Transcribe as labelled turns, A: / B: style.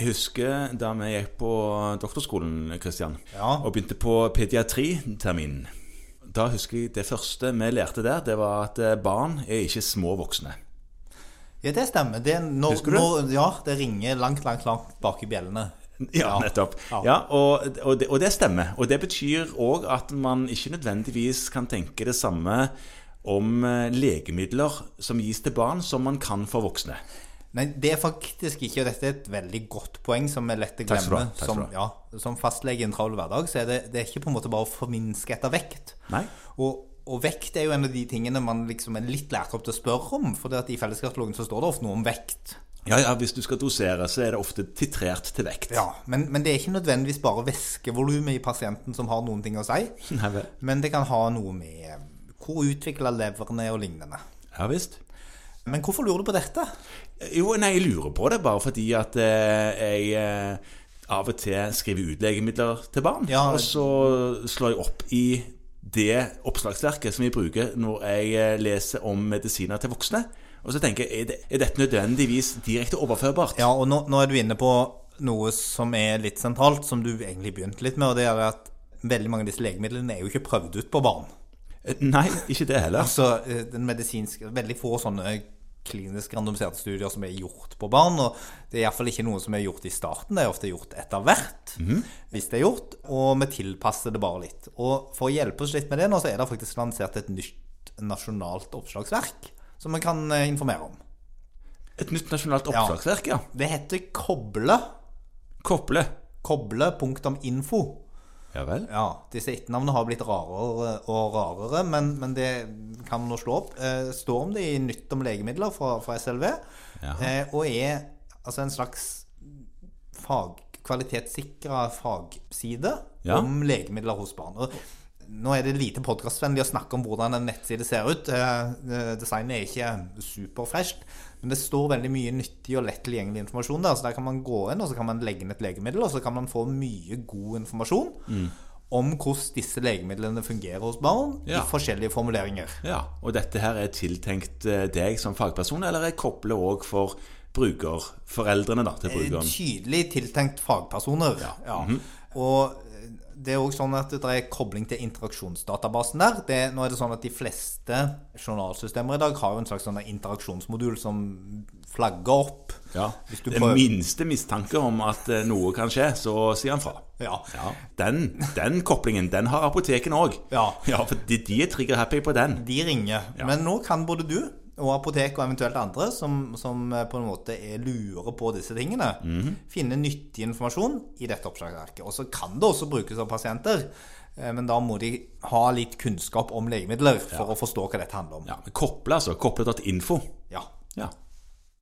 A: husker da vi gikk på doktorskolen, Kristian,
B: Ja.
A: og begynte på pediatriterminen. Da husker jeg det første vi lærte der, det var at eh, barn er ikke små voksne.
B: Ja, det stemmer. Det er når,
A: Husker du?
B: Når, ja, det ringer langt, langt, langt bak i bjellene.
A: Ja, nettopp.
B: Ja.
A: Ja, og, og, det, og det stemmer. Og det betyr òg at man ikke nødvendigvis kan tenke det samme om eh, legemidler som gis til barn, som man kan for voksne.
B: Nei, det er faktisk ikke, og dette er et veldig godt poeng som er lett å
A: Takk skal du
B: glemme.
A: ha, takk skal
B: Som,
A: du
B: ja, som fastlege i en travel hverdag, så er det, det er ikke på en måte bare å forminske etter vekt.
A: Nei.
B: Og, og vekt er jo en av de tingene man liksom er litt lært opp til å spørre om, for det at i fellesskatalogen så står det ofte noe om vekt.
A: Ja, ja, Hvis du skal dosere, så er det ofte titrert til vekt.
B: Ja, men, men det er ikke nødvendigvis bare væskevolumet i pasienten som har noen ting å si,
A: Nei vel.
B: men det kan ha noe med hvor utvikla leveren er og lignende.
A: Ja visst.
B: Men hvorfor lurer du på dette?
A: Jo, nei, jeg lurer på det bare fordi at eh, jeg eh, av og til skriver ut legemidler til barn.
B: Ja.
A: Og så slår jeg opp i det oppslagsverket som jeg bruker når jeg eh, leser om medisiner til voksne. Og så tenker jeg, er, det, er dette nødvendigvis direkte overførbart?
B: Ja, og nå, nå er du inne på noe som er litt sentralt, som du egentlig begynte litt med, og det er at veldig mange av disse legemidlene er jo ikke prøvd ut på barn.
A: Eh, Nei, ikke det heller.
B: Altså, eh, den medisinske, veldig få sånne klinisk randomiserte studier som er gjort på barn, og det er iallfall ikke noe som er gjort i starten, det er ofte gjort etter hvert, hvis det er gjort, og vi tilpasser det bare litt. Og for å hjelpe oss litt med det nå, så er det faktisk lansert et nytt nasjonalt oppslagsverk som vi kan eh, informere om.
A: Et nytt nasjonalt
B: Ja.
A: oppslagsverk, ja.
B: Det heter Koble,
A: Koble.
B: koble.info.
A: Ja vel.
B: Ja, disse etternavnene har blitt rarere og rarere, men, men det kan nå slå opp. Eh, står om det i Nytt om legemidler fra, fra SLV,
A: Jaha.
B: eh, og er altså en slags fag, kvalitetssikra fagside
A: Ja.
B: om legemidler hos barn. Og nå er det lite podkastvennlig å snakke om hvordan en nettside ser ut. Eh, eh, designet er ikke superfresht, men det står veldig mye nyttig og lett tilgjengelig informasjon der. Så der kan man gå inn, og så kan man legge inn et legemiddel, og så kan man få mye god informasjon.
A: Mm.
B: Om hvordan disse legemidlene fungerer hos barn
A: Ja.
B: i forskjellige formuleringer.
A: Ja, Og dette her er tiltenkt eh, deg som fagperson, eller er koble òg for bruker, foreldrene da, til brukeren?
B: Tydelig tiltenkt fagpersoner. Ja. Mhm. Og det er også sånn at det er kobling til interaksjonsdatabasen der. Det, nå er det sånn at De fleste journalsystemer i dag har jo en slags sånn interaksjonsmodul som flagger opp.
A: Ja.
B: Hvis du
A: Det
B: prøver-
A: minste mistanke om at eh, noe kan skje, så sier han fra.
B: Ja.
A: Ja, Den, den koplingen, den har apoteken òg.
B: Ja.
A: for de, de er trigger-happy på den.
B: De ringer. Men nå kan både du og apotek og eventuelt andre som, som eh, på en måte er lure på disse tingene, finne nyttig informasjon i dette oppslagsverket. Og så kan det også brukes av pasienter, eh, men da må de ha litt kunnskap om legemidler for å forstå hva dette handler om.
A: Ja, men Kople, altså. Kople.info.
B: Ja.
A: Ja.